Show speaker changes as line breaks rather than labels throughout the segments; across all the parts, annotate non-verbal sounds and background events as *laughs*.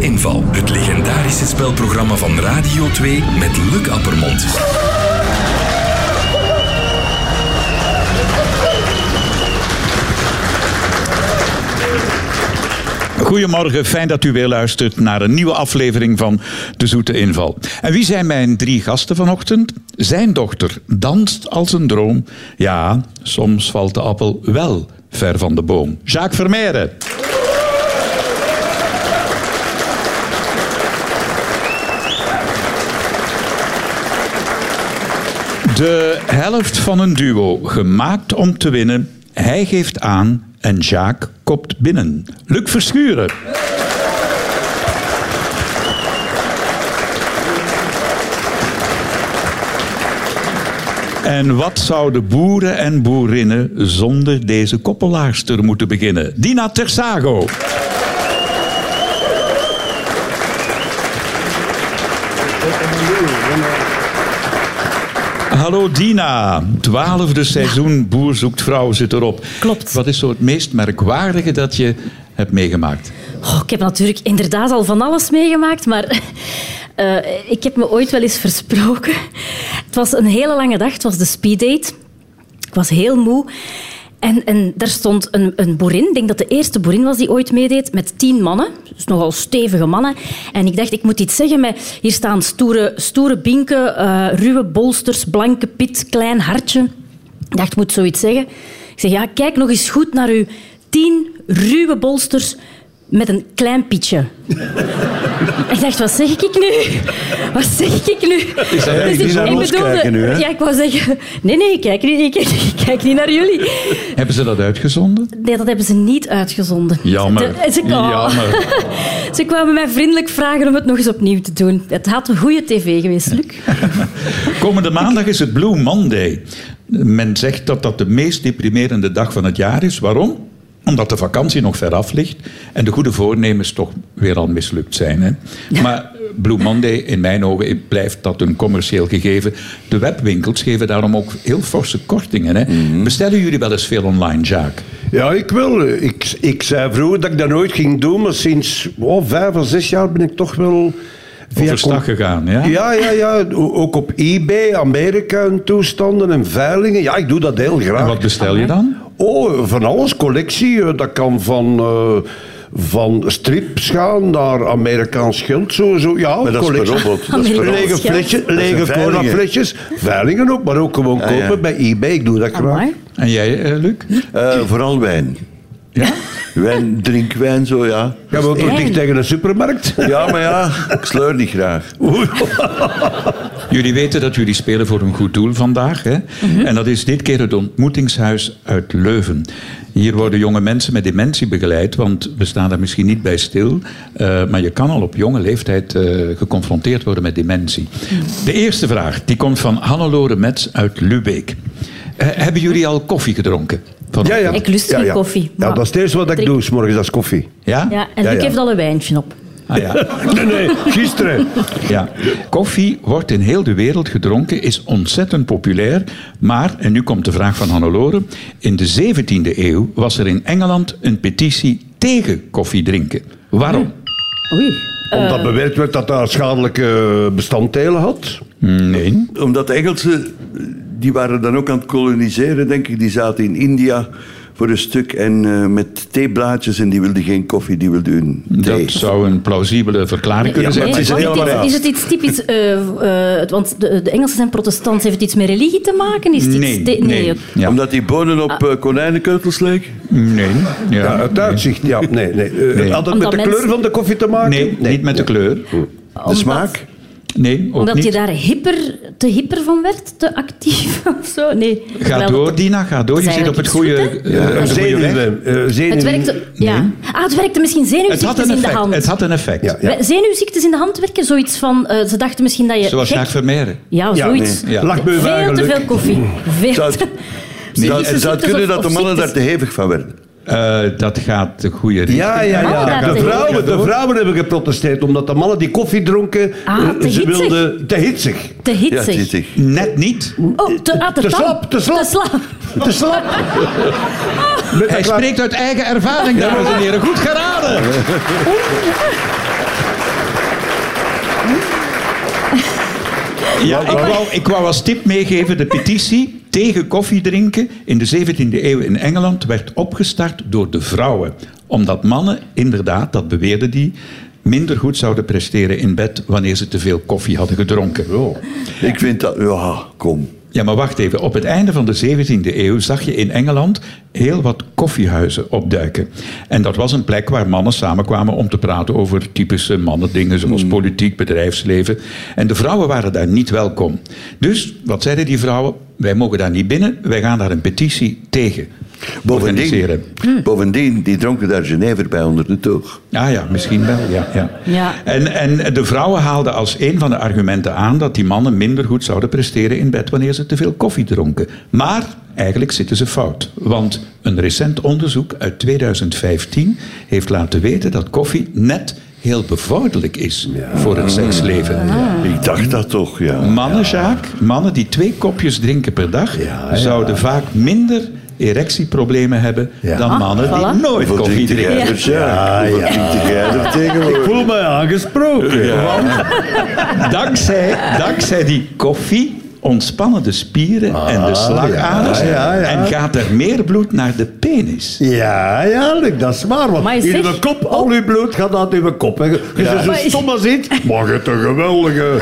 Inval. Het legendarische spelprogramma van Radio 2 met Luc Appermond.
Goedemorgen, fijn dat u weer luistert naar een nieuwe aflevering van De Zoete Inval. En wie zijn mijn drie gasten vanochtend? Zijn dochter danst als een droom. Ja, soms valt de appel wel ver van de boom. Jacques Vermeijden. De helft van een duo, gemaakt om te winnen. Hij geeft aan en Jacques kopt binnen. Luc Verschuren. En wat zouden boeren en boerinnen zonder deze koppelaarster moeten beginnen? Dina Tersago. Hallo Dina, twaalfde seizoen Boer zoekt vrouw zit erop.
Klopt.
Wat is zo het meest merkwaardige dat je hebt meegemaakt?
Oh, ik heb natuurlijk inderdaad al van alles meegemaakt, maar eh, ik heb me ooit wel eens versproken. Het was een hele lange dag, het was de speeddate. Ik was heel moe. En, en daar stond een, een boerin, ik denk dat de eerste boerin was die ooit meedeed, met tien mannen. Dus nogal stevige mannen. En ik dacht, ik moet iets zeggen met... Hier staan stoere, stoere binken, eh, ruwe bolsters, blanke pit, klein hartje. Ik dacht, ik moet zoiets zeggen. Ik zeg, ja, kijk nog eens goed naar uw tien ruwe bolsters met een klein pietje. ik dacht, wat zeg ik nu? Wat zeg ik nu? Dus
Is dat
ik-
echt niet naar
ik
ons kijken nu, hè?
Ja, ik wou zeggen... Nee, nee, ik kijk niet, ik kijk, ik kijk niet naar jullie.
Hebben ze dat uitgezonden?
Nee, dat hebben ze niet uitgezonden.
Jammer.
De- ze, oh.
Jammer.
ze kwamen mij vriendelijk vragen om het nog eens opnieuw te doen. Het had een goede tv geweest, Luc.
Komende maandag is het Blue Monday. Men zegt dat dat de meest deprimerende dag van het jaar is. Waarom? Omdat de vakantie nog veraf ligt en de goede voornemens toch weer al mislukt zijn. Hè? Maar Blue Monday, in mijn ogen, blijft dat een commercieel gegeven. De webwinkels geven daarom ook heel forse kortingen. Hè? Bestellen jullie wel eens veel online, Jaak?
Ja, ik wil. Ik, ik zei vroeger dat ik dat nooit ging doen, maar sinds oh, vijf of zes jaar ben ik toch wel...
Overstag gegaan, ja?
Ja, ja, ja. O- Ook op eBay, Amerika en toestanden en veilingen. Ja, ik doe dat heel graag.
En wat bestel je dan?
Oh, van alles, collectie. Eh, Dat kan van, eh, van strips gaan naar Amerikaans geld. Zo, zo. Ja,
Maar dat is
collectie.
per robot, dat is per
Lege
robot.
flesjes,
Dat zijn
*laughs* lege
veilingen. Ah,
colaflesjes. Veilingen ook, maar ook gewoon
ja.
kopen bij eBay. Ik doe dat graag.
Amai.
En jij, eh, Luc?
Eh, vooral wijn.
Ja?
Wijn, drink wijn zo, ja.
Ja, we ook nog
Echt?
dicht tegen een supermarkt.
Ja, maar ja, ik sleur niet graag.
Jullie weten dat jullie spelen voor een goed doel vandaag. Hè? En dat is dit keer het ontmoetingshuis uit Leuven. Hier worden jonge mensen met dementie begeleid, want we staan daar misschien niet bij stil. eh, maar je kan al op jonge leeftijd eh, geconfronteerd worden met dementie. De eerste vraag, die komt van Hannelore Mets uit Lubeek. Eh, hebben jullie al koffie gedronken? Van-
Ja, ja.
Ik lust
Ja,
geen
ja.
koffie,
Ja,
maar-
dat is het eerste wat ik
Drink-
doe, 's morgens, dat is koffie.
Ja?
Ja, en
Ja,
Luc
ja.
heeft al een wijntje op.
Ah, ja.
Nee, nee,
*laughs*
gisteren.
Eh.
Ja. Koffie wordt in heel de wereld gedronken, is ontzettend populair. Maar, en nu komt de vraag van Hannelore, in de 17e eeuw was er in Engeland een petitie tegen koffie drinken. Waarom?
Oei.
Omdat bewerkt werd dat daar schadelijke bestanddelen had.
Nee.
Omdat de Engelsen, die waren dan ook aan het koloniseren, denk ik. Die zaten in India voor een stuk en eh, met theeblaadjes en die wilden geen koffie, die wilden hun thee.
Dat zou een plausibele verklaring kunnen
maar
zijn.
Nee,
het is
want
heel
het
raar.
is het iets typisch... eh, eh, want de, de Engelsen zijn protestants. Heeft het iets met religie te maken? Is het iets
Nee,
te-
nee. Ja.
Omdat die bonen op eh, konijnenkeutels leken.
Nee.
Ja,
Ja.
het uitzicht, ja. Nee, nee. Eh,
Nee.
Had het
Omdat
met de
mensen-
kleur van de koffie te maken?
Nee, niet met de kleur.
De smaak?
Nee, ook
Omdat je
niet.
daar hyper, te hyper van werd? Te actief *laughs* of zo? Nee.
Ga
Wel,
door, Dina, ga door. Je
Zijn
zit
we
op het
iets
goede,
goed,
eh, op de
Een
goede weg.
zenuwen. eh, zenuwen.
Het werkte... Ja. Ah, het werkte misschien
Het had
zenuwziektes
een
in de hand.
effect. Het had een effect.
Ja, ja.
We- Zenuwziektes in de hand werken? Zoiets van... eh, ze dachten misschien dat je...
Zoals
gek-
Jacques Vermeer.
Ja,
Ja,
zoiets.
nee.
Ja.
Lachbeu van
Veel te
geluk.
veel koffie. Veel *laughs*
Zou
te-
het,
Psychische
zou, zou het
ziektes
kunnen
of-
dat de
of
mannen daar
ziektes.
te hevig van werden?
Eh, dat gaat de goede richting.
Ja, ja,
Mannen daar
ja. De
tegen.
vrouwen, de vrouwen hebben geprotesteerd omdat de mannen die koffie dronken,
Ah,
eh,
te
ze
hitsig.
wilden te hitsig.
Te
Ja,
hitsig.
zit ik.
Net niet.
oh, te, ah, te,
Te
tam.
slap, te slap.
Te slap.
Te
*laughs*
slap.
Ah.
Met
Hij
een klaar-
spreekt uit eigen ervaring, dames en heren. Goed geraden. Ja, ik wou, ik wou als tip meegeven, de petitie tegen koffie drinken in de 17e eeuw in Engeland werd opgestart door de vrouwen. Omdat mannen, inderdaad, dat beweerden die, minder goed zouden presteren in bed wanneer ze te veel koffie hadden gedronken.
Ik vind dat... Ja, kom.
Ja, maar wacht even. Op het einde van de 17e eeuw zag je in Engeland heel wat koffiehuizen opduiken. En dat was een plek waar mannen samenkwamen om te praten over typische mannendingen, zoals politiek, bedrijfsleven. En de vrouwen waren daar niet welkom. Dus wat zeiden die vrouwen? Wij mogen daar niet binnen, wij gaan daar een petitie tegen
Bovendien, Hm.
organiseren.
bovendien, die dronken daar Genever bij onder de toog.
Ah ja, misschien wel. Ja, ja.
Ja.
En, en de vrouwen haalden als een van de argumenten aan dat die mannen minder goed zouden presteren in bed wanneer ze te veel koffie dronken. Maar eigenlijk zitten ze fout. Want een recent onderzoek uit 2015 heeft laten weten dat koffie net heel bevorderlijk is voor het seksleven.
Ik dacht dat toch, ja.
Mannen, Jacques, mannen die twee kopjes drinken per dag, zouden vaak minder erectieproblemen hebben dan mannen
Ah,
die
voilà.
nooit
Hoeveel
koffie
drinkt jij
drinken.
er, ja. Hoeveel drinkt jij er tegenwoordig?
voel me aangesproken.
Dankzij, dankzij die koffie ontspannen de spieren en de slagaders
ja, ja, ja.
en gaat er meer bloed naar de penis.
Ja, ja, Luc, dat is waar. Want
Maar
in
zeg-
de kop, al uw bloed gaat uit uw kop. hè. Je bent zo
Maar-
stom als
*laughs*
iets. Maar je hebt een geweldige...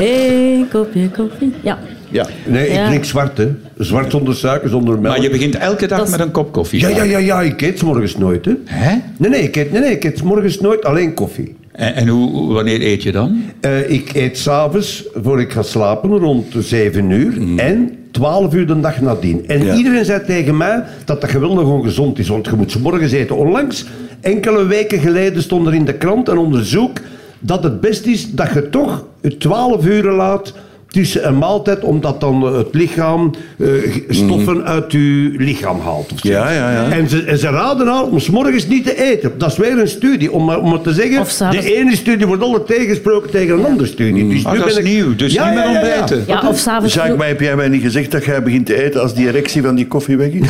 Eén kopje koffie. Ja.
Ja. Nee, ik
Ja.
drink zwart, hè. Zwart zonder suiker, zonder melk.
Maar je begint elke dag
Dat is-
met een kop koffie.
Ja, ja, ja, ja, ik eet 's morgens nooit, hè.
Hè?
Nee, nee, ik eet, nee, nee, ik eet 's morgens nooit alleen koffie.
En, en hoe, wanneer eet je dan?
Eh, ik eet s'avonds, voor ik ga slapen, rond de 7 uur. En 12 uur de dag nadien. En
Ja.
iedereen zei tegen mij dat dat geweldig ongezond is. Want je moet 's morgens eten. Onlangs, enkele weken geleden, stond er in de krant een onderzoek dat het best is dat je toch 12 uur laat tussen een maaltijd, omdat dan het lichaam eh, stoffen uit je lichaam haalt. of zo.
Ja, ja, ja.
En, ze, en ze raden al om 's morgens niet te eten. Dat is weer een studie. Om, maar- om het te zeggen,
Of s'avonds.
de ene studie wordt alle tegensproken tegen een andere studie. Dus
Ah,
nu
dat
ben
is
ik-
nieuw, dus niet meer ontbijten.
Ja, of s'avonds
Jacques, maar heb jij mij niet gezegd dat jij begint te eten als die erectie van die koffie weg is?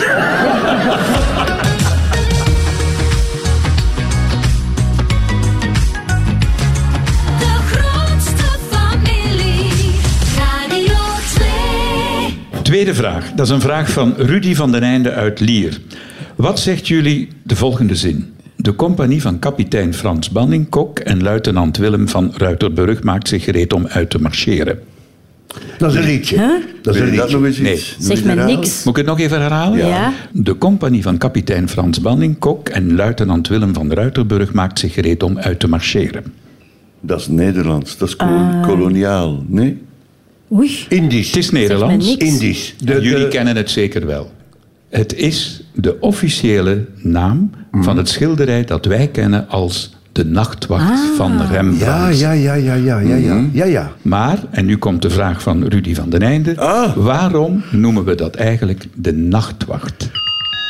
De grootste familie, Radio 2.
Tweede vraag. Dat is een vraag van Rudy van den Einde uit Lier. Wat zegt jullie de volgende zin? De compagnie van kapitein Frans Banning, kok en luitenant Willem van Ruiterburg maakt zich gereed om uit te marcheren.
Dat is een liedje. Dat is een
Wil je dat
liedje.
nog eens
Nee.
iets?
Zeg me
mineralen?
niks.
Moet ik het nog even herhalen?
Ja. Ja.
De compagnie van kapitein Frans Banning, kok en luitenant Willem van Ruiterburg maakt zich gereed om uit te marcheren.
Dat is Nederlands, dat is kolon- koloniaal, nee?
Oei.
Indisch.
Het is Nederlands.
niks.
Indisch. De- de-
Jullie kennen het zeker wel. Het is de officiële naam van het schilderij dat wij kennen als De Nachtwacht van Rembrandt.
Ja, ja, ja, ja, ja, ja, ja.
Mm-hmm.
ja, ja.
Maar, en nu komt de vraag van Rudy van den Einde,
Ah.
waarom noemen we dat eigenlijk de Nachtwacht?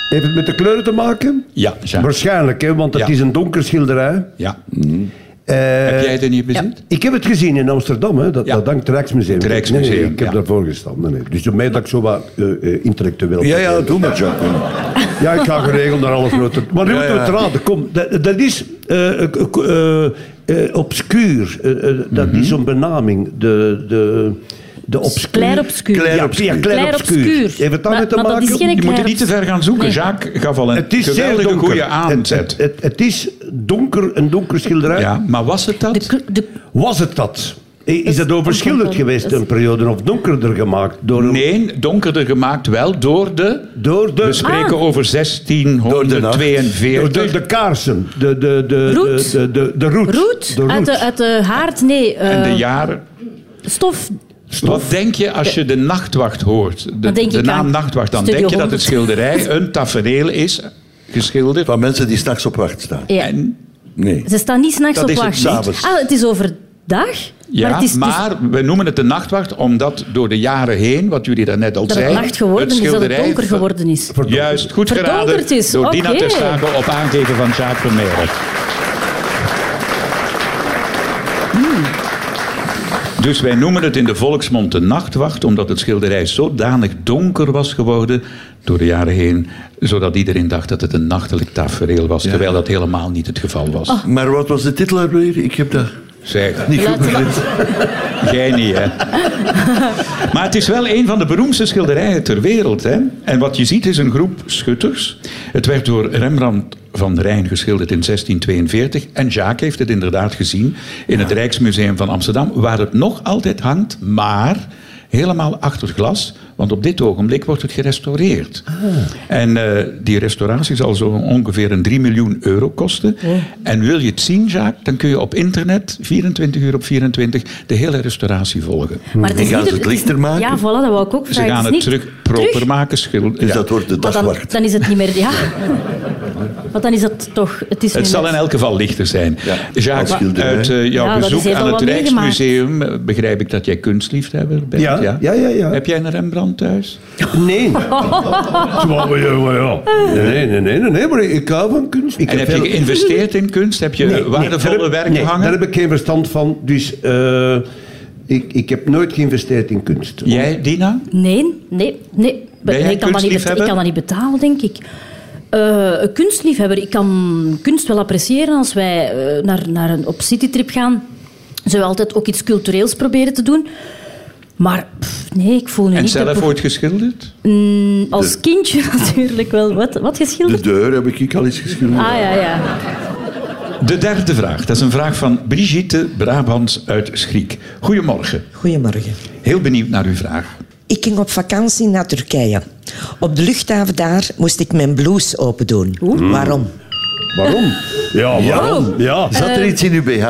Heeft het met de kleuren te maken?
Ja, Jacques.
Waarschijnlijk, hè, want het
Ja.
is een donker schilderij.
Ja.
Eh,
Heb jij het in je bezit?
ik heb het gezien in Amsterdam, hè, dat,
Ja.
dat dankt het Rijksmuseum.
Het Rijksmuseum,
Nee, nee, ik heb
ja.
daarvoor gestaan. Nee, nee. Dus door mij dat ik zo wat eh, eh, intellectueel
Ja,
ben.
ja, doe maar, Jacques.
Ja, ik ga geregeld naar alles rood. Maar nu
Ja,
moeten we het
ja.
raden. Kom, dat, dat is eh, eh, eh, eh, obscuur. Eh, eh, dat is een benaming. De, de, de obscuur.
Klein obscuur.
Klein
Ja,
obscuur.
Ja, klein
Klein
obscuur.
obscuur.
Heeft het
Maar-
daarmee te
maar dat
maken?
is geen-
Je moet er
Klein-
niet te ver gaan zoeken.
Nee.
Jacques gaf al een
Het is zeer
geweldige
donker.
goede
Het,
aanzet.
het, het, het is donker, een donker schilderij.
Ja, maar was het
De,
dat?
kl- de,
Was het dat? I- Is
is
dat overschilderd
donker.
geweest
Dat is-
een periode of donkerder gemaakt? Door, een-
Nee, Dus donkerder gemaakt wel door de...
door de...
We spreken
Ah.
over
Door
1642.
de, de kaarsen, de, de, de,
Roet.
de, de, de, de roet.
roet,
De
Uit, de, uit de haard, nee,
en
eh,
de jaren.
stof.
Wat denk je als je de nachtwacht hoort? De,
Dan denk
de
ik
naam
aan
nachtwacht. Dan
Studio
denk je dat het
100. *laughs*
schilderij een tafereel is, geschilderd.
Van mensen die s'nachts op wacht staan.
Ja.
En
Nee.
Ze staan niet s'nachts
Dat
op
is het
wacht.
s'avonds.
Ah, het is overdag.
Ja,
maar
maar,
het is, het is-
we noemen het de nachtwacht omdat door de jaren heen, wat jullie daarnet al
dat het
zeiden,
nacht geworden is, dat het
schilderij
donker
van-
geworden is.
Juist, goed
Verdonkerd
geraden
is,
door
oké.
Dina Ter Stapel op aangeven van Jacques Vermeer.
Hmm.
Dus wij noemen het in de volksmond de nachtwacht, omdat het schilderij zodanig donker was geworden door de jaren heen, zodat iedereen dacht dat het een
Oh.
nachtelijk tafereel was, terwijl dat helemaal niet het geval was.
Maar wat was de titel alweer? Ik heb dat...
Zeg,
Laten we-
jij niet, hè? Maar het is wel een van de beroemdste schilderijen ter wereld, hè? En wat je ziet is een groep schutters. Het werd door Rembrandt van Rijn geschilderd in 1642. En Jacques heeft het inderdaad gezien in het Rijksmuseum van Amsterdam, waar het nog altijd hangt, maar helemaal achter glas, want op dit ogenblik wordt het gerestaureerd. En eh, die restauratie zal zo ongeveer een 3 miljoen euro kosten. En wil je het zien, Jacques, dan kun je op internet 24 uur op 24 de hele restauratie volgen.
Maar het
En
is
gaan
niet
ze
de-
het lichter maken?
Ja, voilà, dat wou ik ook
Ze
vragen.
gaan
is
het
niet-
terug proper maken. schil-
Dus
Ja.
dat wordt de
Maar dan,
dagwacht.
dan is het niet
*laughs*
meer... Ja. Want dan is het toch... Het, is
Het
nu
zal
net-
in elk geval lichter zijn.
Ja, als
Jacques,
schilder,
uit eh, jouw
Ja, dat is
bezoek
heel
aan het
wat meegemaakt.
Rijksmuseum eh, begrijp ik dat jij kunstliefhebber bent.
Ja, ja, ja, ja.
Heb jij een Rembrandt thuis?
Nee. *laughs* Terwijl we- ja, maar ja. Nee, nee, nee, nee, nee, maar ik hou van kunst. Ik
En heb je
veel-
geïnvesteerd in kunst? Heb je
Nee, nee,
waardevolle
daar heb-
werken
nee,
hangen?
daar heb ik geen verstand van. Dus eh, ik, ik heb nooit geïnvesteerd in kunst.
Jij, Dina?
Nee, nee, nee.
Ben jij
ik, kan dat niet beta-
kunstliefhebber?
ik kan dat niet betalen, denk ik. Eh, een kunstliefhebber, ik kan kunst wel appreciëren als wij eh, naar, naar een op citytrip gaan. Zullen we altijd ook iets cultureels proberen te doen. Maar pff, nee, ik voel nu
En
niet... de
zelf
beho-
ooit geschilderd?
Als kindje *laughs* natuurlijk wel. Wat, wat
De
geschilderd?
deur heb ik al eens geschilderd.
Ah ja, Dus- ja.
De derde vraag. Dat is een vraag van Brigitte Brabants uit Schriek. Goedemorgen.
Goedemorgen.
Heel benieuwd naar uw vraag.
Ik ging op vakantie naar Turkije. Op de luchthaven daar moest ik mijn blouse open doen.
Hmm.
Waarom?
Waarom? Ja,
Oh.
waarom? Ja.
Zat er iets in uw BH?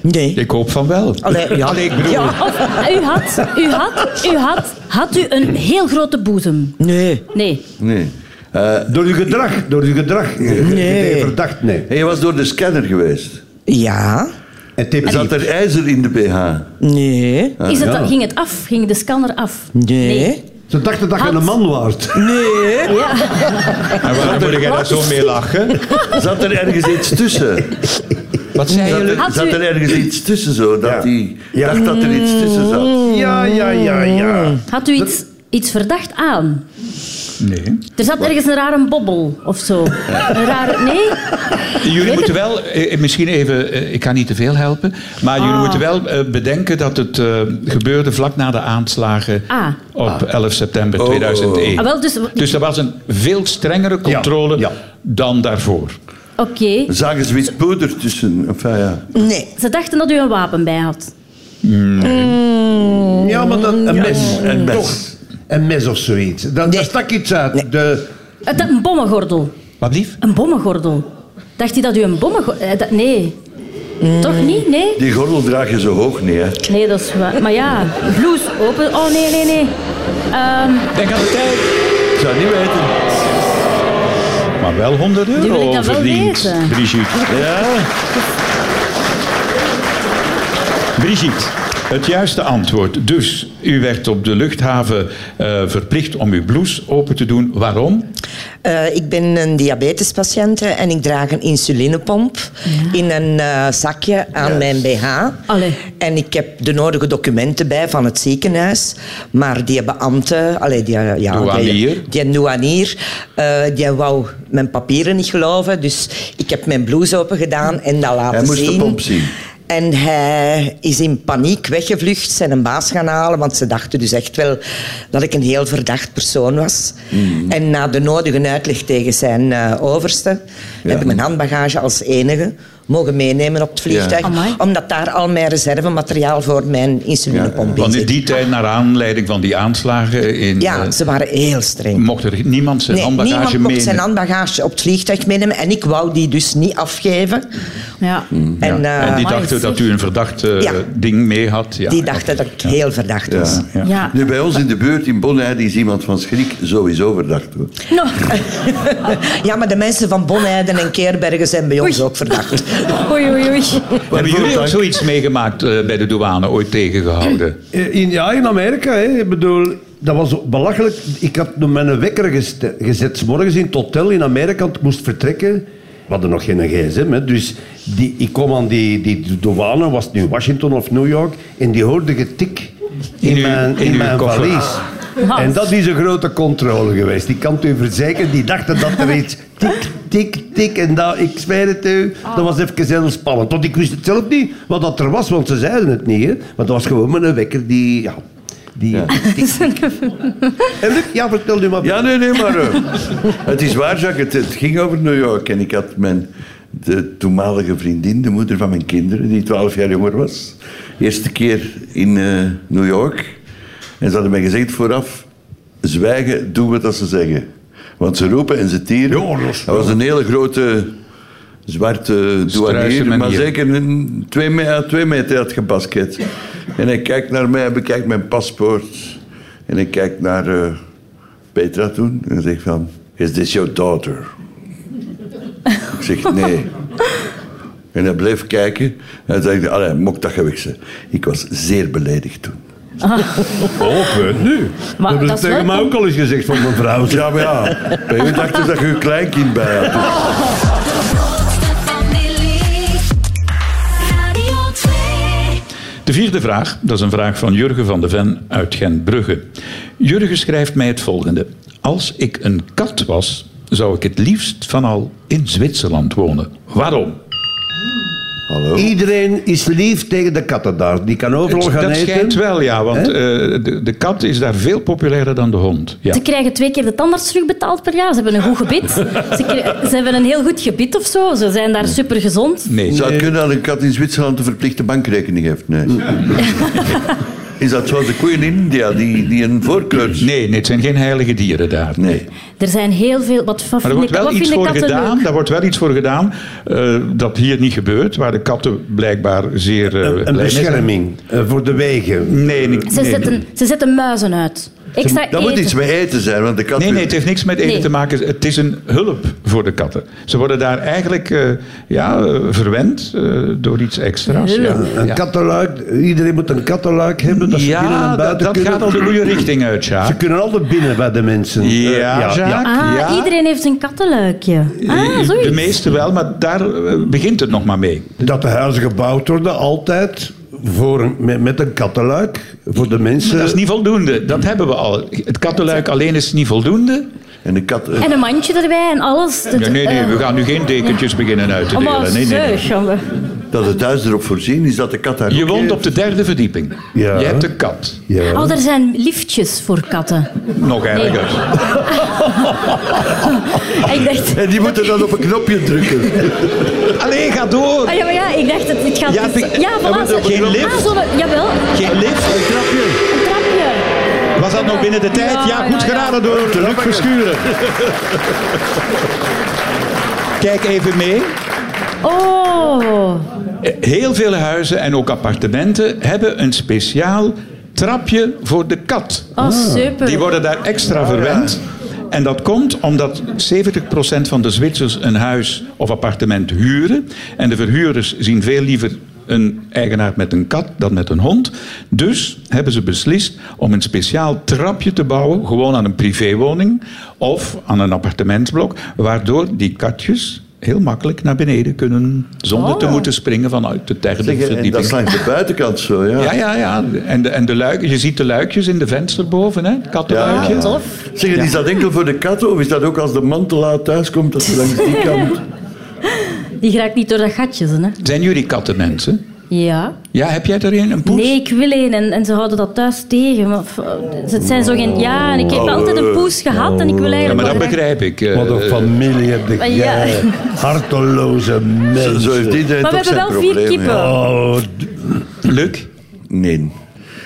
Nee.
Ik hoop van wel.
Allee, ja.
Allee, ik bedoel...
Ja.
Of, u had, u had, u had, had u een heel grote boezem?
Nee.
Nee.
Nee. Eh,
Door je gedrag. Door je gedrag.
Nee.
Je verdacht, nee.
en je was door de scanner geweest.
Ja.
En tip
Zat er ijzer in de BH?
Nee.
Is het, Ging het af? Ging de scanner af?
Nee.
Ze dachten dat je
Had-
een man was.
En waarom moet jij daar zo mee lachen?
Zat er ergens iets tussen?
Wat zei
Zat
je?
er,
Had
zat
u-
er ergens iets tussen zo? Dat hij dacht dat er iets tussen zat.
Ja, ja, ja, ja.
Had u iets, iets verdacht aan?
Nee.
Er zat ergens een rare bobbel of zo. Een rare... Nee?
Jullie moeten wel, eh, misschien even, eh, ik kan niet te veel helpen, maar
Ah.
jullie moeten wel eh, bedenken dat het eh, gebeurde vlak na de aanslagen
Ah.
op 11 september
Oh.
2001.
Ah, wel, dus...
Dus er was een veel strengere controle
ja.
dan daarvoor.
Oké.
Zagen ze wit poeder tussen? Enfin, ja.
Nee.
Ze dachten dat u een wapen bij had.
Ja, maar dan een mes.
Een mes.
Toch. Een mes of zoiets. Dan, Daar stak iets uit. De,
Het, Eh, een bommengordel.
Wat lief?
Een bommengordel. Dacht hij dat u een bommengordel... eh, dat- Nee. Toch niet? Nee?
Die gordel draag je zo hoog niet, hè?
Nee, dat is waar. Maar ja, blouse open... Oh, nee, nee, nee. Ehm,
Denk aan de tijd.
Ik zou niet weten.
Maar wel 100
wil ik dan
euro
wel
verdiend,
weten.
Brigitte.
Ja?
Brigitte, het juiste antwoord. Dus, u werd op de luchthaven eh, verplicht om uw blouse open te doen. Waarom?
Eh, ik ben een diabetespatiënt en ik draag een insulinepomp in een eh, zakje aan mijn BH.
Allee.
En ik heb de nodige documenten bij van het ziekenhuis. Maar die beambte, allee, die, eh, ja,
Douanier.
die, die douanier, eh, die wou mijn papieren niet geloven. Dus ik heb mijn blouse open gedaan en dat laten
Hij moest de
zien.
pomp zien.
En hij is in paniek weggevlucht, zijn een baas gaan halen, want ze dachten dus echt wel dat ik een heel verdacht persoon was.
Mhm.
En na de nodige uitleg tegen zijn eh, overste, heb ik mijn handbagage als enige mogen meenemen op het vliegtuig.
Ja.
Amai.
Omdat daar al mijn reservemateriaal voor mijn insulinepomp in
Want in
zit.
die tijd, naar aanleiding van die aanslagen in...
Ja,
eh,
ze waren heel streng.
Mocht er niemand zijn
Nee,
handbagage
niemand
meenemen?
mocht zijn handbagage op het vliegtuig meenemen en ik wou die dus niet afgeven.
ja.
Mm.
En,
en die
eh,
Amai,
dachten
zeg.
dat u een verdacht eh,
Ja.
ding mee had. Ja,
die dachten dat ik heel verdacht was.
Ja.
Ja.
Nu, bij ons in de buurt in Bonheide is iemand van schrik sowieso verdacht. Hoor.
Nou,
Ja, maar de mensen van Bonheiden en Keerbergen zijn bij ons ook verdacht.
*laughs* oei, oei, oei.
Hebben jullie ook zoiets meegemaakt eh, bij de douane, ooit tegengehouden?
eh, in, ja, in Amerika, hè. Ik bedoel, dat was belachelijk. Ik had nog mijn wekker geste- gezet, 's morgens in het hotel in Amerika, want ik moest vertrekken. We hadden nog geen gsm, hè. dus die, ik kwam aan die, die douane, was het nu Washington of New York, en die hoorde getik in,
In uw-
mijn,
in
in
uw
mijn
koffer.
valies. En dat is een grote controle geweest. Ik kan het u verzekeren, die dachten dat er iets tik, tik, tik. En dat, ik zweer het u, dat was even heel spannend. Want ik wist het zelf niet wat dat er was, want ze zeiden het niet. Hè. Maar dat was gewoon maar een wekker die... Ja, die En Luc, ja, vertel nu maar.
Ja, nee, nee, maar eh, het is waar, Jacques. Het, het ging over New York. En ik had mijn de toenmalige vriendin, de moeder van mijn kinderen, die 12 jaar jonger was, eerste keer in eh, New York. En ze hadden mij gezegd vooraf, zwijgen, doe wat dat ze zeggen. Want ze roepen en ze tieren. dat was een hele grote zwarte douanier,
Struise
maar
manier.
zeker een twee, me- ja, twee meter had gebasket. En hij kijkt naar mij, hij bekijkt mijn paspoort. En hij kijkt naar eh, Petra toen en zegt van... Is this your daughter? Ik zeg nee. En hij bleef kijken. En hij zei, allee, mocht dat gewiksen. Ik was zeer beledigd toen.
Open, nu.
Maar dat
dat is
is
tegen
wel-
mij ook al eens gezegd van mijn vrouw.
Ja, maar ja. Bij u dacht ik dat je een kleinkind bij had.
De grootste familie. Radio 2.
De vierde vraag, dat is een vraag van Jurgen van de Ven uit Gentbrugge. Jurgen schrijft mij het volgende. Als ik een kat was, zou ik het liefst van al in Zwitserland wonen. Waarom?
Iedereen is lief tegen de katten daar. Die kan overal
Het-
gaan
dat
eten.
schijnt wel, ja, want
Hè?
eh, de, de kat is daar veel populairder dan de hond. Ja.
Ze krijgen twee keer de tandarts terugbetaald per jaar. Ze hebben een goed gebit. Ze, kri- *laughs* ze hebben een heel goed gebit of zo. Ze zijn daar super gezond.
Nee,
Zou het kunnen dat een kat in Zwitserland een verplichte bankrekening heeft? Nee. *laughs* Is dat zoals de koe in India, die, die een voorkeur...
nee, nee, het zijn geen heilige dieren daar.
Nee.
Er zijn heel veel. Wat, wat
Maar
vinden,
er wordt wel
wat
iets
vinden
voor
katten
gedaan,
leuk?
daar wordt wel iets voor gedaan eh, dat hier niet gebeurt, waar de katten blijkbaar zeer eh, blij
Een
mee zijn.
bescherming eh, voor de wegen.
Nee, nee,
Ze,
nee.
zetten, ze zetten muizen uit. Extra
Dat moet
eten.
iets met eten zijn, want de kat...
Nee, nee, het heeft niks met eten
Nee.
te maken. Het is een hulp voor de katten. Ze worden daar eigenlijk eh, ja, eh, verwend eh, door iets extra's. Ja,
Een kattenluik, iedereen moet een kattenluik hebben. Dat ze
Ja,
binnen en
dat,
buiten
dat
kunnen.
gaat al de goede richting uit, ja.
Ze kunnen altijd binnen bij de mensen.
Ah. Ja,
Eh,
Jacques,
Ah,
ja. Eh,
iedereen heeft een kattenluikje. Ah,
De
zoiets.
meeste wel, maar daar eh, begint het nog maar mee.
Dat de huizen gebouwd worden, altijd voor een- met, met een kattenluik. Voor de mensen.
Dat is niet voldoende. Dat hebben we al. Het kattenluik alleen is niet voldoende.
En de kat... eh,
En een mandje erbij en alles. Dat-
Ja, nee, nee,
eh, Oh,
we gaan nu geen dekentjes beginnen uit te
allemaal
delen. Nee, nee, nee.
zeus, jongen.
dat het huis erop voorzien is dat de kat daar
Je
ook
woont
heeft.
op de derde verdieping.
Ja.
Je hebt een kat.
Ja.
Oh, er zijn liftjes voor katten.
Nog erger.
Ah, ik dacht...
En die moeten dan op een knopje
*laughs*
drukken.
Allee, ga door.
Ah, ja, maar ja, ik dacht dat dit gaat...
Ja,
dus-
ik-
ja,
er
voilà.
moet
ze-
ook geen
ah,
lift.
zo'n- jawel,
Geen lift, een trapje.
een trapje.
Was dat nog binnen de tijd? Ja, goed geraden door Luc Verschuren. Kijk even mee.
Oh,
Heel veel huizen en ook appartementen hebben een speciaal trapje voor de kat.
oh super.
Ah. Die worden daar extra verwend. En dat komt omdat 70% van de Zwitsers een huis of appartement huren. En de verhuurders zien veel liever een eigenaar met een kat dan met een hond. Dus hebben ze beslist om een speciaal trapje te bouwen, gewoon aan een privéwoning of aan een appartementsblok, waardoor die katjes heel makkelijk naar beneden kunnen zonder te moeten springen vanuit de derde
Zeggen, en dat
verdieping.
is langs de buitenkant zo, ja.
Ja, ja, ja. En de, en de luiken, je ziet de luikjes in de venster boven, hè? Het Kattenluikje.
Zeg, en is dat enkel voor de katten of is dat ook als de mantelaar thuis komt dat ze langs die
*laughs*
kant...
Die geraakt niet door dat gatje, ze, hè?
Zijn jullie kattenmensen?
Ja.
Ja, heb jij er een? Een poes?
Nee, ik wil een en, en ze houden dat thuis tegen. Maar, f- het zijn zo geen... Ja, en ik heb altijd een poes gehad en ik wil
Oh. Ja,
eigenlijk...
maar dat
wel graag-
begrijp ik. eh,
Wat een familie heb ik.
ja.
Ja. eh, Harteloze
Zo,
mensen.
zo heeft iedereen
Maar we
toch
hebben
zijn
wel vier
probleem,
kippen.
ja.
Oh,
Luc?
Nee.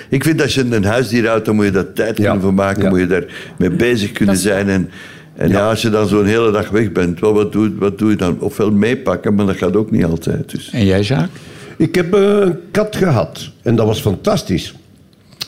Ik vind als je een huisdier houdt, dan moet je daar tijd kunnen voor maken.
Ja.
Moet je daar mee bezig kunnen zijn. En, en ja. als je dan zo'n hele dag weg bent, wat, wat, doe, wat doe je dan? Ofwel meepakken, maar dat gaat ook niet altijd. Dus.
En jij, Jacques?
Ik heb eh, een kat gehad en dat was fantastisch.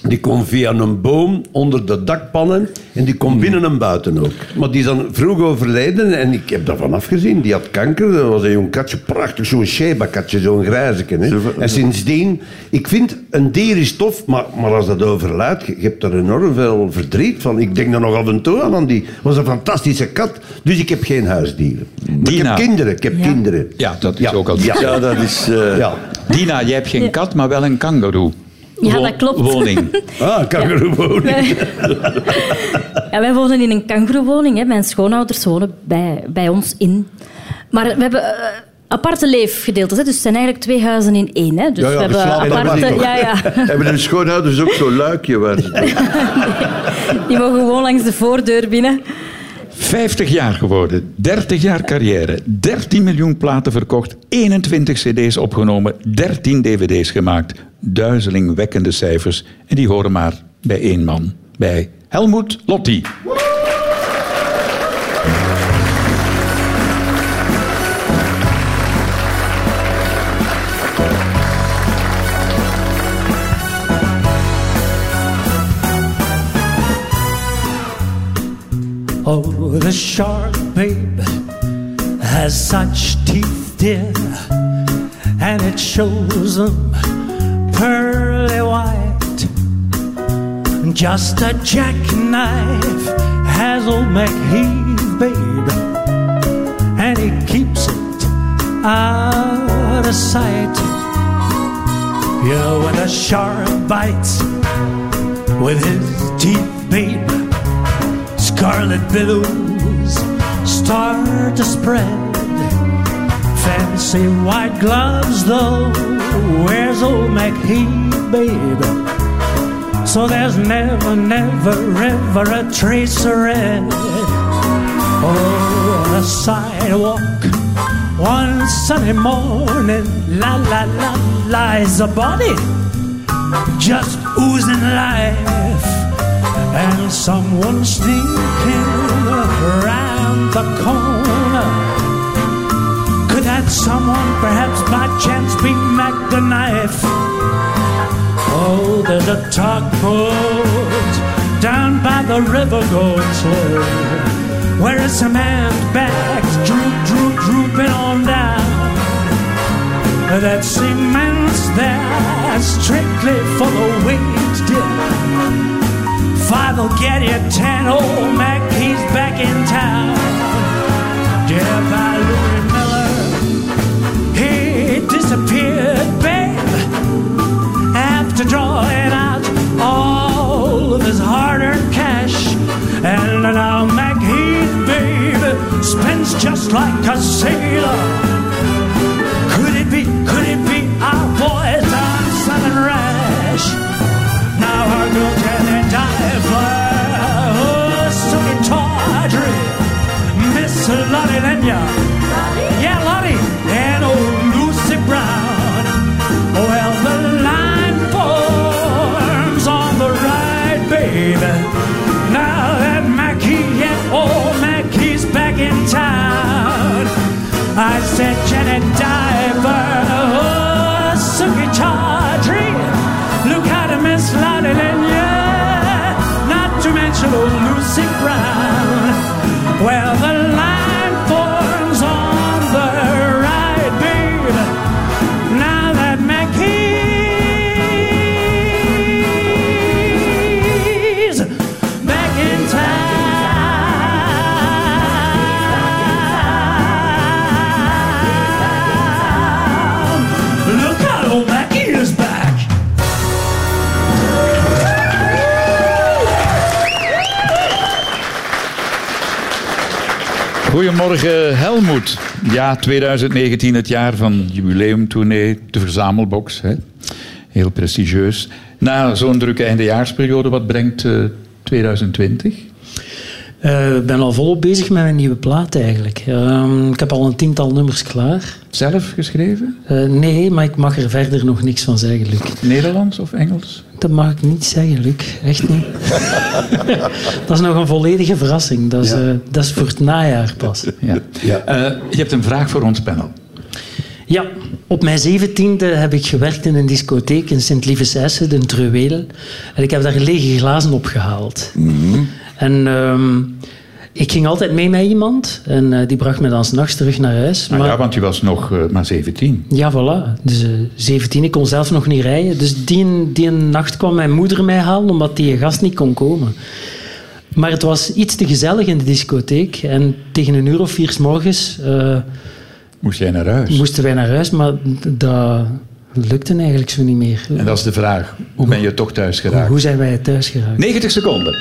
Die kon via een boom onder de dakpannen en die
Hmm.
kon binnen en buiten ook. Maar die is dan vroeg overleden en ik heb daarvan afgezien. Die had kanker, dat was een jong katje, prachtig, zo'n sheba-katje, zo'n grijzeken. Hè. En sindsdien, ik vind, een dier is tof, maar, maar als dat overlijdt, je je hebt er enorm veel verdriet van. Ik denk er nog af en toe aan, aan die was een fantastische kat. Dus ik heb geen huisdieren. Maar ik
Dina.
heb kinderen, ik heb kinderen.
Ja, dat is ook al-
Ja,
Ja, dat is... eh,
ja.
Dina, jij hebt geen kat, maar wel een kangoeroe.
Ja,
wo-
dat klopt. *laughs*
Woning.
Ah, kangeroewoning.
Ja, wij woonden in een kangoeroewoning. hè. Mijn schoonouders wonen bij, bij ons in. Maar we hebben eh, aparte leefgedeeltes. Hè. Dus het zijn eigenlijk twee huizen in één. Hè. Dus
Ja, ja,
we hebben
je slaapt
apart
aparte...
niet.
Ja, ja. *laughs*
Hebben de schoonouders ook zo'n luikje waar ze
Die mogen gewoon langs de voordeur binnen.
50 jaar geworden, 30 jaar carrière, 13 miljoen platen verkocht, 21 cd's opgenomen, 13 dvd's gemaakt. Duizelingwekkende cijfers. En die horen maar bij één man, bij Helmoet Lotti.
Oh, the shark, babe, has such teeth, dear, and it shows them pearly white. Just a jackknife has old McHeath, babe, and he keeps it out of sight. You know, when a shark bites with his teeth, babe, Scarlet billows start to spread. Fancy white gloves, though, where's old MacHeath, babe? So there's never, never, ever a trace of red. Oh, on the sidewalk, one sunny morning, la la la lies a body just oozing life. And someone sneaking around the corner. Could that someone perhaps by chance be Mac the Knife? Oh, there's a tugboat down by the river going slow. Where is a man's bags droop, droop, drooping on down? That cement's there strictly for the weight, dear. Five will get you ten. Old Mac, he's back in town. Dear by Louis Miller, he disappeared, babe. After drawing out all of his hard-earned cash, and now Mac, he's babe spends just like a sailor. Could it be? Could it be our boys on Southern Rash? Now our girl can and dive Oh, so tawdry Miss Lottie Lenya Yeah, Lottie And old Lucy Brown Well, the line forms on the right, baby Now that Mackie, yeah, oh, Mackie's back in town I said, Janet Diver Oh, Suki Tawdry Look at her, Miss Lottie Lanyard. Not to mention old Lucy Brown. Well, the line forms on the right, babe. Now that Mackie's back in town. Look out, old Mackie is back.
Goedemorgen Helmoet. Ja, 2019, het jaar van jubileumtournee, de verzamelbox. Hè? Heel prestigieus. Na zo'n drukke eindejaarsperiode, wat brengt eh, 2020?
Eh, Ik ben al volop bezig met mijn nieuwe plaat eigenlijk. Ehm, ik heb al een tiental nummers klaar.
Zelf geschreven?
Eh, nee, maar ik mag er verder nog niks van zeggen, Luc.
Nederlands of Engels?
Dat mag ik niet zeggen, Luc. Echt niet. dat is nog een volledige verrassing. Dat is, eh, dat is voor het najaar pas.
Ja. Eh, je hebt een vraag voor ons Ah, panel.
Ja, op mijn zeventiende heb ik gewerkt in een discotheek in Sint-Lievesesse, in Treuwedel. En ik heb daar lege glazen opgehaald. En ehm, ik ging altijd mee met iemand. En eh, die bracht me dan s'nachts terug naar huis.
Nou
Maar-
ja, want je was nog eh, maar 17.
Ja, voilà. Dus eh, 17, ik kon zelf nog niet rijden. Dus die, die nacht kwam mijn moeder mij halen, omdat die gast niet kon komen. Maar het was iets te gezellig in de discotheek. En tegen een uur of vier 's morgens eh,
Moest jij naar huis?
moesten wij naar huis. Maar d- dat
lukte eigenlijk zo niet meer.
En dat is de vraag. Hoe ben je toch thuis geraakt?
Hoe zijn wij thuis geraakt?
90 seconden.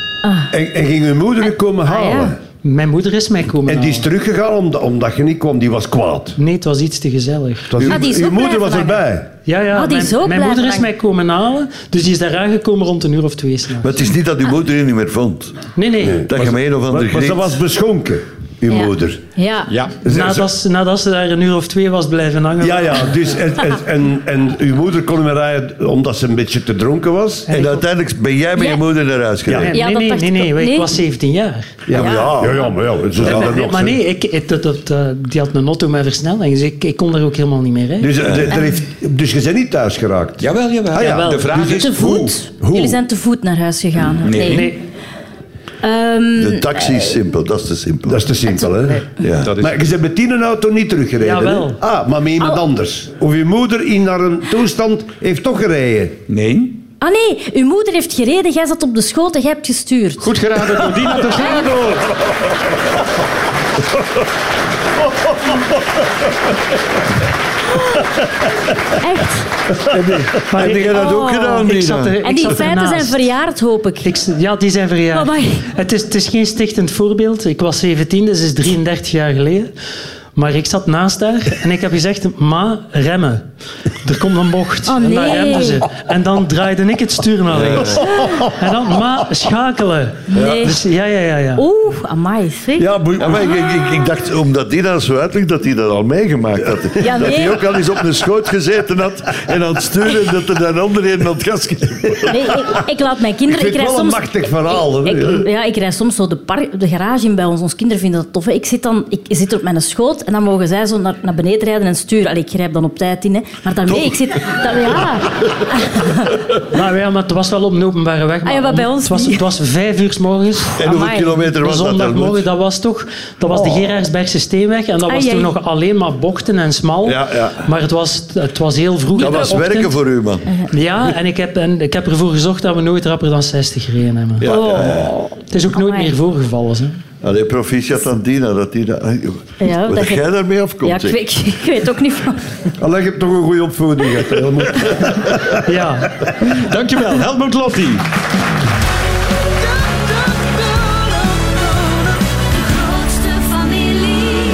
En, en ging uw moeder u komen halen.
Ah, ja.
Mijn moeder is mij komen
En die is
halen.
teruggegaan omdat, omdat je niet kwam. Die was kwaad. Het
Nee, het was iets te gezellig.
was-
Ah, die is
uw
ook
moeder was
blijven
erbij.
Ja, ja,
Ah, die
mijn,
is ook
mijn
blijven
moeder is
hangen.
mij komen halen, dus die is daar aangekomen rond een uur of twee s'nachts.
Maar het is niet dat uw moeder je niet meer vond.
Nee, nee.
Dat je hem een of ander
Maar, maar ze
griet-
was beschonken, uw
Ja.
moeder.
Ja.
Ja.
Nadat, ze, nadat ze daar een uur of twee was blijven hangen.
Ja, ja. Dus en, en, en, en uw moeder kon hem rijden omdat ze een beetje te dronken was.
En uiteindelijk ben jij met je
Ja.
moeder naar huis gereden.
Ja,
nee,
dat
nee,
dacht
nee,
ik
nee,
ook.
ik
Nee.
was 17 jaar.
Ja, maar ja. ja, ja, maar ja. Zo zou dat nog
maar
zijn.
nee, ik, het- het- het, eh, die had een auto met versnelling, dus ik, ik kon daar ook helemaal niet meer rijden.
Dus, eh, er- er heeft, dus je bent niet thuis geraakt.
Jawel, jawel.
Ah, ja.
De vraag is
Te
hoe?
voet. Jullie zijn te voet naar huis gegaan. hè?
Nee.
nee,
Ehm,
De taxi is simpel, Oh, dat is te simpel.
Dat is te simpel, hè?
ja.
Dat is...
Maar je bent met die een auto niet teruggereden. hè?
Jawel.
Ah, maar met iemand
Oh.
anders. Of je moeder in naar een toestand heeft toch gereden.
Nee.
Ah nee, uw moeder heeft gereden, jij zat op de schoot en jij hebt gestuurd.
Goed geraden door Dina de Schado.
Echt.
maar
Heb
ik,
jij dat ook
Oh.
gedaan,
ik
Nina?
zat er,
En
ik
die
zat
feiten zijn
ernaast.
verjaard, Oh hoop ik.
Ik, ja, die zijn verjaard.
Amai.
Het is, het is geen stichtend voorbeeld. Ik was 17, dus is 33 jaar geleden. Maar ik zat naast haar en ik heb gezegd, ma, remmen. Er komt een bocht.
Oh,
En dan
nee.
remde ze. En dan draaide ik het stuur naar links. En dan, ma, schakelen.
Nee. Oh,
Dus, ja, ja, ja. ja.
Oeh, amai, zeg.
Ja, boe- ja, maar ik, ik, ik dacht, omdat die dat zo uitlegt, dat hij dat al meegemaakt had.
Ja,
Dat
nee.
hij ook al eens op een schoot gezeten had en aan het sturen, dat er dan anderen een aan het gas ging.
Nee, ik, ik laat mijn kinderen...
Ik
rijd
vind het wel een
soms,
machtig verhaal. hè?
Ik,
Ja.
ja, ik rijd soms zo de, par- de garage in bij ons. Onze kinderen vinden dat tof. hè. Ik zit, dan, ik zit er op mijn schoot en dan mogen zij zo naar, naar beneden rijden en sturen. Allee, ik grijp dan op tijd in. Hè. Maar daarmee, ik zit... Dat,
*laughs*
ja.
Maar, Nou ja, maar het was wel op een openbare weg. Maar
Ah ja, maar bij ons
het, was,
niet.
het was vijf uur s morgens.
En hoeveel
Amai.
kilometer was dat Oh. daar
Zondagmorgen,
goed?
dat was toch dat was de Gerardsbergse Steenweg. En dat
Ai,
was toen
ai.
nog alleen maar bochten en smal.
Ja, ja.
Maar het was, het was heel vroeg.
Dat
in de
was
ochtend.
werken voor u, man.
Ja, en ik, heb, en ik heb ervoor gezorgd dat we nooit rapper dan 60 gereden hebben. Oh.
Ja,
Oh.
ja, ja.
Het is ook nooit
Amai.
meer voorgevallen. Hè.
Allee, proficiat aan Dina, dat die dat...
Ja,
wat
dat
dat
je-
jij daarmee afkomt,
Ja, ik,
zeg.
weet- ik weet ook niet van...
Allee, je hebt toch een goede opvoeding gehad. hè,
*laughs*
Helmoet?
Ja.
Dankjewel, Helmut Lotti.
De grootste familie.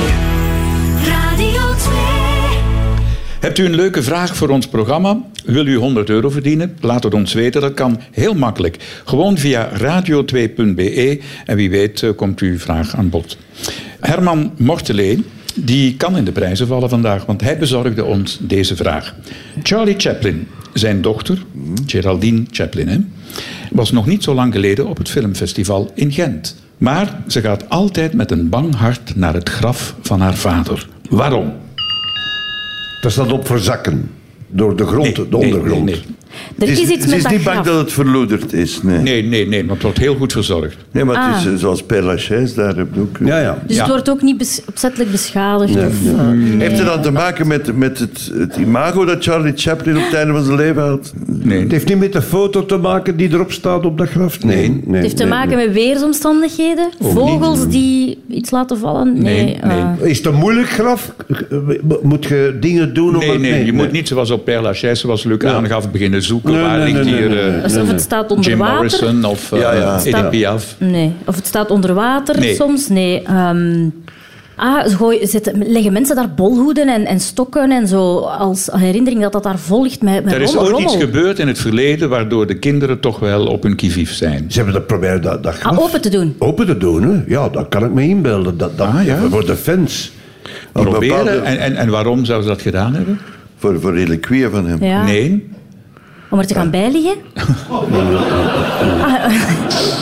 Radio 2.
Hebt u een leuke vraag voor ons programma? Wil u 100 euro verdienen? Laat het ons weten. Dat kan heel makkelijk. Gewoon via radio2.be en wie weet eh, komt uw vraag aan bod. Herman Mortelee, die kan in de prijzen vallen vandaag, want hij bezorgde ons deze vraag. Charlie Chaplin, zijn dochter, Geraldine Chaplin, hè, was nog niet zo lang geleden op het filmfestival in Gent. Maar ze gaat altijd met een bang hart naar het graf van haar vader. Waarom?
Dat staat op voor zakken. Door de grond, de
nee,
ondergrond.
nee, nee.
Er is, iets
Het het
met
is
dat
niet bang
graf.
dat het verloederd is, nee. Nee,
Nee, nee, nee, want het wordt heel goed verzorgd.
maar het
Ah.
is eh, zoals Père Lachaise, daar heb je ook...
Ja, ja.
Dus
Ja.
het wordt ook niet bes- opzettelijk beschadigd. of, eh,
Heeft het dan te maken met, met het, het imago dat Charlie Chaplin op het einde van zijn leven had?
Nee.
Het heeft niet met de foto te maken die erop staat op dat graf. Nee. nee.
Het heeft te maken met weersomstandigheden, vogels die iets laten vallen. Nee,
Nee,
eh,
nee.
Is het een moeilijk graf? Moet je dingen doen om
Nee,
het-
nee, je moet niet zoals op Père Lachaise, zoals Luc aangaf, beginnen zoeken.
Nee,
waar
nee,
ligt
nee,
hier
nee,
eh,
nee.
dus of het staat onder
Jim
water.
Morrison of eh
Ja, ja.
Edith
Staat-
Piaf?
Nee, of het staat onder water
Nee.
soms. Nee. ehm, ah, ze gooi, zetten, leggen mensen daar bolhoeden en, en stokken en zo als herinnering dat dat daar vol ligt met, met
Er is
rommel,
ooit iets
rommel.
gebeurd in het verleden waardoor de kinderen toch wel op hun kivief zijn.
Ze hebben dat proberen dat, dat graf
Ah, open te doen.
open te doen. Hè? Ja, dat kan ik me inbeelden. Dat, dat,
Ah, ja.
Voor de fans.
Op
Proberen.
bepaalde-
En, en, en waarom zouden ze dat gedaan hebben?
Voor, voor reliquieën van hem.
Ja.
Nee. Ah.
Om er te gaan bijliggen?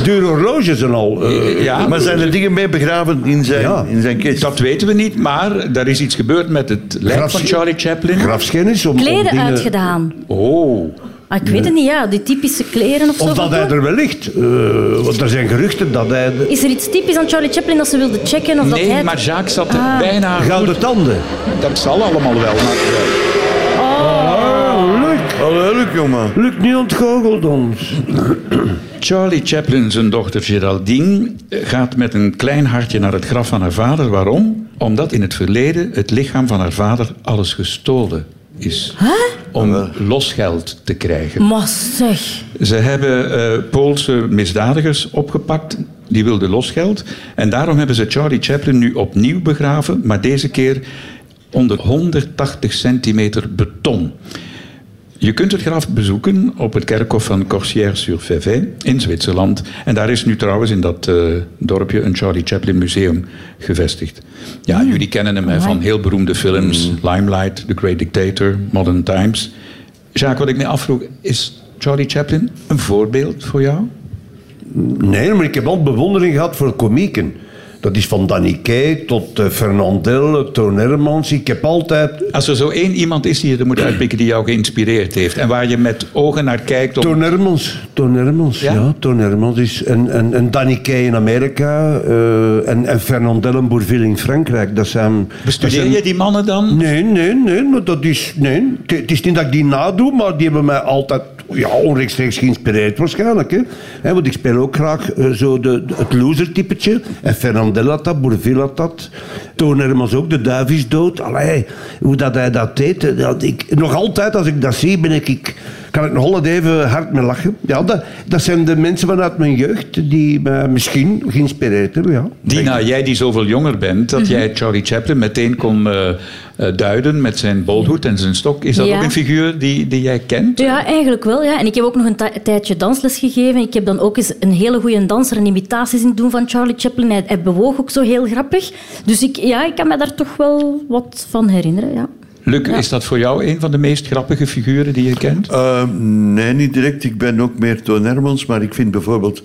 Dure horloges en al. eh,
Ja,
Maar zijn er dingen mee begraven in zijn,
Ja.
in zijn kist?
dat weten we niet, maar er is iets gebeurd met het lijk
Graf-
van Charlie Chaplin.
grafschennis. Om, om
Kleden
dingen-
uitgedaan.
Oh,
Ah, ik weet het niet, ja. Die typische kleren of, zo.
Of
van
dat hij
toen.
er wel ligt. Eh, want er zijn geruchten dat hij... de-
Is er iets typisch aan Charlie Chaplin dat ze wilden checken? Of dat Ah.
nee,
hij...
maar Jacques zat er bijna
Gouden
goed.
tanden.
Dat zal allemaal wel. Maar,
Hallo, leuk jongen.
Lukt niet ontgoocheld ons.
Charlie Chaplin, zijn dochter Geraldine, gaat met een klein hartje naar het graf van haar vader. Waarom? Omdat in het verleden het lichaam van haar vader alles gestolen is. Om losgeld te krijgen.
Maar zeg.
Ze hebben eh, Poolse misdadigers opgepakt. Die wilden losgeld. En daarom hebben ze Charlie Chaplin nu opnieuw begraven. Maar deze keer onder 180 centimeter beton. Je kunt het graf bezoeken op het kerkhof van Corsières-sur-Vevey in Zwitserland. En daar is nu trouwens in dat eh, dorpje een Charlie Chaplin museum gevestigd. Ja, jullie kennen hem hè, van heel beroemde films. Limelight, The Great Dictator, Modern Times. Jacques, wat ik me afvroeg, is Charlie Chaplin een voorbeeld voor jou?
Nee, maar ik heb altijd bewondering gehad voor komieken. Dat is van Danny Kay tot eh, Fernandel, Toon Hermans. Ik heb altijd...
Als er zo één iemand is die je er moet uitpikken die jou geïnspireerd heeft en waar je met ogen naar kijkt om
Toon Hermans, Toon Hermans,
Ja?
ja. Toon Hermans is... En, en, en Danny Kay in Amerika eh, en, en Fernandel en Bourvil in Frankrijk. Dat zijn... dat
Bestudeer
zijn-
je die mannen dan?
Nee, nee, nee, maar dat is... Nee, het- het is niet dat ik die nadoe, maar die hebben mij altijd... Ja, onrechtstreeks geïnspireerd waarschijnlijk. Hè? Hè, want ik speel ook graag eh, zo de, de- het loser-typetje. En Fernandel had dat, Bourvil had dat. Toon Hermans ook, de duif is dood. Allee, hoe dat hij dat deed. eh, Dat ik, nog altijd, als ik dat zie, ben ik, ik, kan ik nog altijd even hard mee lachen. Ja, dat, dat zijn de mensen vanuit mijn jeugd die mij misschien geïnspireerd hebben, ja.
Dina, Nou, jij die zoveel jonger bent,
Mhm.
dat jij Charlie Chaplin meteen kon eh, eh, duiden met zijn bolhoed en zijn stok. Is dat
Ja.
ook een figuur die, die jij kent?
Ja, eigenlijk wel. Ja. En ik heb ook nog een ti- tijdje dansles gegeven. Ik heb dan ook eens een hele goede danser en imitaties zien doen van Charlie Chaplin. Hij, hij bewoog ook zo heel grappig. Dus ik, ja, ik kan me daar toch wel wat van herinneren. Ja.
Luc, is dat voor jou een van de meest grappige figuren die je kent?
Eh, nee, niet direct. Ik ben ook meer Toon Hermans. Maar ik vind bijvoorbeeld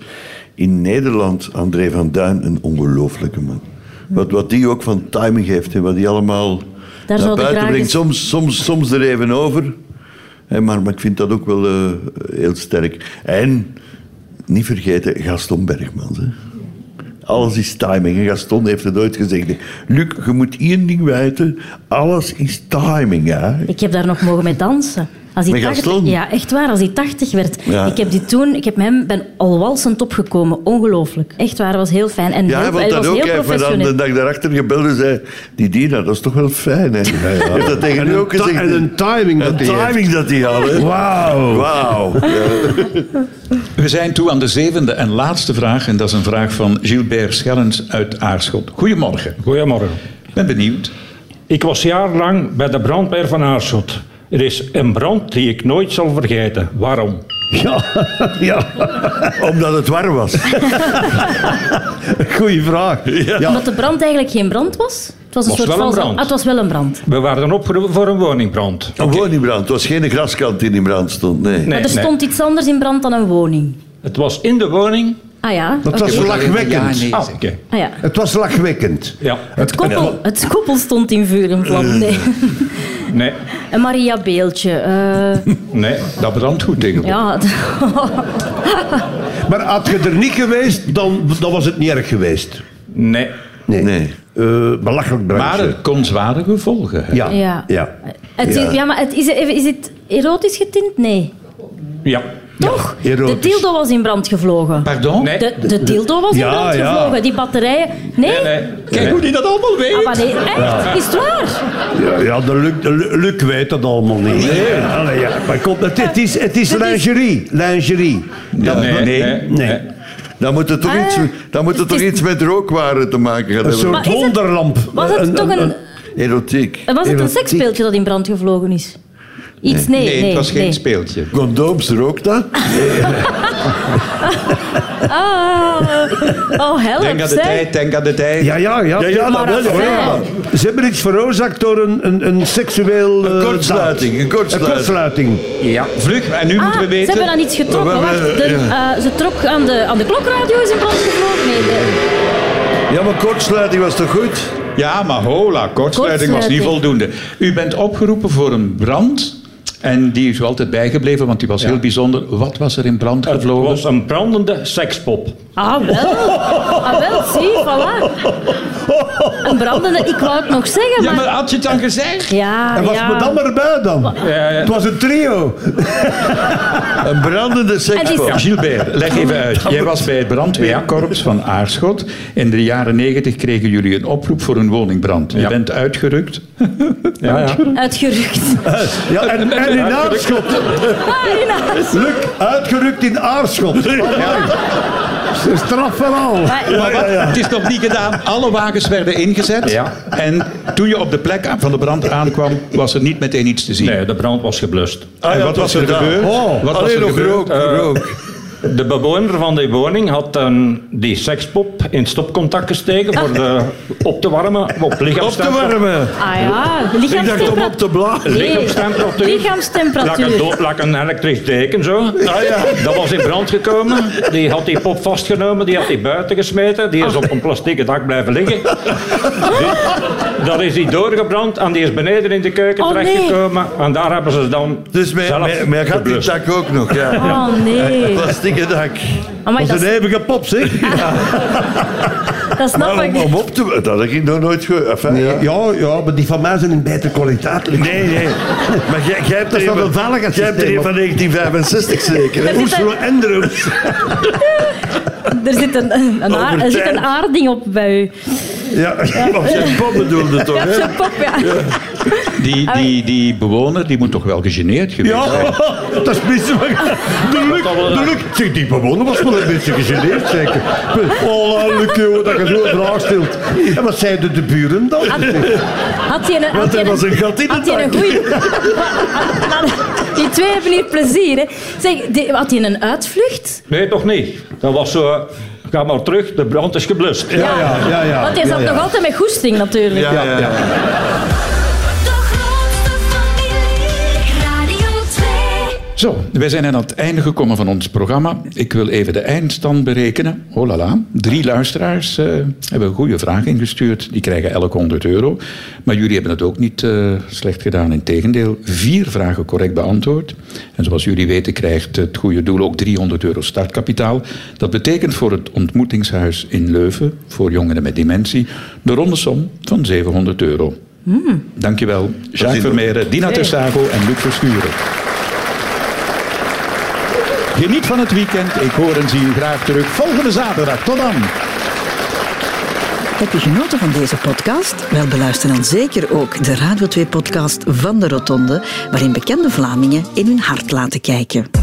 in Nederland André van Duin een ongelooflijke man. Wat, wat die ook van timing heeft en wat die allemaal
zouden
naar buiten
graag
brengt.
eens-
Soms, soms, soms er even over. Hè, maar, maar ik vind dat ook wel eh, heel sterk. En niet vergeten Gaston Bergmans. Hè. Alles is timing. En Gaston heeft het ooit gezegd. Luc, je moet één ding weten. Alles is timing. Hè.
Ik heb daar nog mogen mee dansen. Als hij
Met
80,
Gaston?
ja, echt waar. Als hij 80 werd.
Ja.
Ik heb die toen, ik heb met hem ben al walsend opgekomen. Ongelooflijk. Echt waar, dat was heel fijn. En
Ja,
heel,
hij vond
hij
dat
was
ook.
heel
Hij heeft me dan
professioneel.
de dag daarachter gebeld en zei... Die Dina, dat is toch wel fijn, hè? Hij heeft dat tegen u ook
Ti-
gezegd.
en een timing dat
Een
die heeft.
timing dat hij had, hè?
Wauw.
Wauw. Ja.
We zijn toe aan de zevende en laatste vraag. En dat is een vraag van Gilbert Schellens uit Aarschot. Goedemorgen.
Goedemorgen.
Ik ben benieuwd.
Ik was jarenlang bij de brandweer van Aarschot. Er is een brand die ik nooit zal vergeten. Waarom?
Ja, ja.
Omdat het warm was.
*laughs* goeie vraag.
Omdat de brand eigenlijk geen brand was. Het was een
Was
soort
wel een
valse-
brand.
Ah, het was wel een brand.
We waren opgeroepen voor een woningbrand.
Gewoon in brand. Het was geen graskant die in brand stond, nee.
Nee,
maar er
nee.
stond iets anders in brand dan een woning.
Het was in de woning.
Ah ja.
Dat was
oké.
lachwekkend.
Ah, oké.
Ah, ja.
Het was lachwekkend.
Ja.
Het koppel, het koppel stond in vuur en vlam. Nee.
Nee,
Een Maria Beeltje. eh,
nee.
Dat brandt goed tegenwoordig.
ja.
Maar had je er niet geweest, dan, dan was het niet erg geweest.
Nee.
Nee.
Nee.
Eh, belachelijk
Maar
branche.
het kon zware gevolgen hebben.
ja.
Ja.
Ja.
Het is, ja, maar het, is, is het erotisch getint? Nee.
Ja.
Toch? de
erotisch.
dildo was in brand gevlogen.
Pardon?
Nee.
De, de dildo was in
Ja,
brand
ja.
gevlogen. Die batterijen. Nee?
Nee, nee.
Kijk hoe die dat allemaal weet.
Ah, maar nee. Echt? Is het waar?
Ja, ja, de Luc, de Lu- Luc weet dat allemaal niet. Nee. Allee, ja. Maar kom, het, het is, het is lingerie. Lingerie.
Ja, nee, nee, nee.
Dan moet het toch,
Ah,
iets, dan moet het toch
het is-
iets met rookwaren te maken gaan
Een
hebben.
Maar
soort
is het-
wonderlamp.
Was het toch een,
Erotiek.
was het een
erotiek.
seksspeeltje dat in brand gevlogen is? Iets? Nee, nee.
Nee, het was geen
nee.
speeltje.
Condooms, rookt dat?
Ah, oh, help,
Denk aan de
zeg.
tijd, denk aan de tijd.
Ja, ja, ja.
Ja, ja, dat wel.
afijn.
ja.
Ze hebben iets veroorzaakt door een, een, een seksueel... eh,
Een kortsluiting, een kortsluiting.
Een kortsluiting.
Ja.
Vlug, en nu
Ah,
moeten we
ze
weten...
hebben dan iets getrokken.
We hebben-
Wacht, de, eh, ze trok aan de, aan de klokradio is in brand gevlogen. Nee, de-
Ja, maar kortsluiting was toch goed?
Ja, maar hola, kortsluiting was niet
Kortsluiting.
voldoende. U bent opgeroepen voor een brand En die is u altijd bijgebleven, want die was heel bijzonder. Wat was er in brand gevlogen?
was een brandende sekspop.
Ah, wel. Ah, wel, zie, voilà. Een brandende, ik wou het nog zeggen, maar...
had je het dan gezegd?
Ja,
En was
ja.
me dan maar bij dan. Het was een trio.
Een brandende sekspop.
En
Gilbert, leg even uit. Jij was bij het brandweerkorps van Aarschot. In de jaren negentig kregen jullie een oproep voor een woningbrand. Je
Ja.
bent uitgerukt. *laughs*
Ja, ja.
Uitgerukt.
Ja, en, en in
*laughs*
Aarschot.
Ah, helaas.
Luc, uitgerukt in Aarschot. Ze straf van al.
Maar wat- Het is nog niet gedaan. Alle wagens werden ingezet.
Ja.
En toen je op de plek van de brand aankwam, was er niet meteen iets te zien.
Nee, de brand was geblust.
Ah,
en
ja,
wat
dat
was
is
er
gedaan.
gebeurd?
Oh,
wat was
Alleen
er
nog
gebeurd?
rook,
Eh,
rook.
De bewoner van die woning had een, die sekspop in stopcontact gesteken voor de, op te warmen. Op
Op te
lichaamstemperatuur.
warmen.
Ah ja,
Ik dacht om op
lichaamstemperatuur.
te blazen.
Nee,
Lichaamstemperatuur. Lak een,
Lichaamstemperatuur.
do- lak een elektrisch deken zo.
Ah,
Dat was in brand gekomen. Die had die pop vastgenomen, die had die buiten gesmeten. Die is op een plastieke dak blijven liggen. Die- dat is die doorgebrand en die is beneden in de keuken
Oh, nee.
terechtgekomen. En daar hebben ze dan
Dus mij,
zelf
mij, mij gaat die
geblust.
dak ook nog. Ja.
Oh nee.
Plastieke dak.
Amai, dat,
Een eeuwige pop, zeg.
dat snap
Maar
ik
om,
niet.
om op te... Dat had ik nog nooit gehoord. Enfin, ja.
Ja, ja, maar die van mij zijn in betere kwaliteit. Luc.
Nee, nee. Maar jij, jij hebt
Dat is
er
wel een
een- jij hebt er
veiligheidssysteem.
een
op.
van 1965 zeker. hè?
Er zit
Oeslo Andrews.
Er zit een, een, een aar, er zit een aarding op bij u.
Ja, op zijn pop bedoelde toch, hè?
Zo'n pop, ja. Ah,
Die, die, die bewoner die moet toch wel gegeneerd geweest
Ja,
zijn?
dat is misselijk. De Luc, de Luc. Zeg, die bewoner was wel een beetje gegeneerd, zeker. Oh, Luc, joh, dat je zo'n vraag stelt. En wat zeiden de buren dan?
Ah.
Had hij een, had
Want
hij
er was een gat in de
Had hij
dak.
een goeie... *laughs* Maar Die twee hebben hier plezier, hè. Zeg, die- had hij een uitvlucht?
Nee, toch niet. Dat was zo... Ga maar terug, de brand is geblust.
Ja, ja, ja. ja.
Want hij zat
ja, ja.
nog altijd met goesting, natuurlijk.
Ja, ja, ja.
De grootste familie, Radio 2.
Zo, wij zijn aan het einde gekomen van ons programma. Ik wil even de eindstand berekenen. Oh la la. Drie luisteraars eh, hebben een goede vraag ingestuurd. Die krijgen elk 100 euro. Maar jullie hebben het ook niet eh, slecht gedaan. Integendeel, vier vragen correct beantwoord. En zoals jullie weten krijgt het goede doel ook 300 euro startkapitaal. Dat betekent voor het ontmoetingshuis in Leuven, voor jongeren met dementie, de ronde som van 700 euro. Dankjewel, Jacques Vermeeren, Dina Testago en Luc Verschuren. Geniet van het weekend. Ik hoor en zie u graag terug volgende zaterdag. Tot dan.
Heb je genoten van deze podcast? Wel, beluister dan zeker ook de Radio 2-podcast van de Rotonde, waarin bekende Vlamingen in hun hart laten kijken.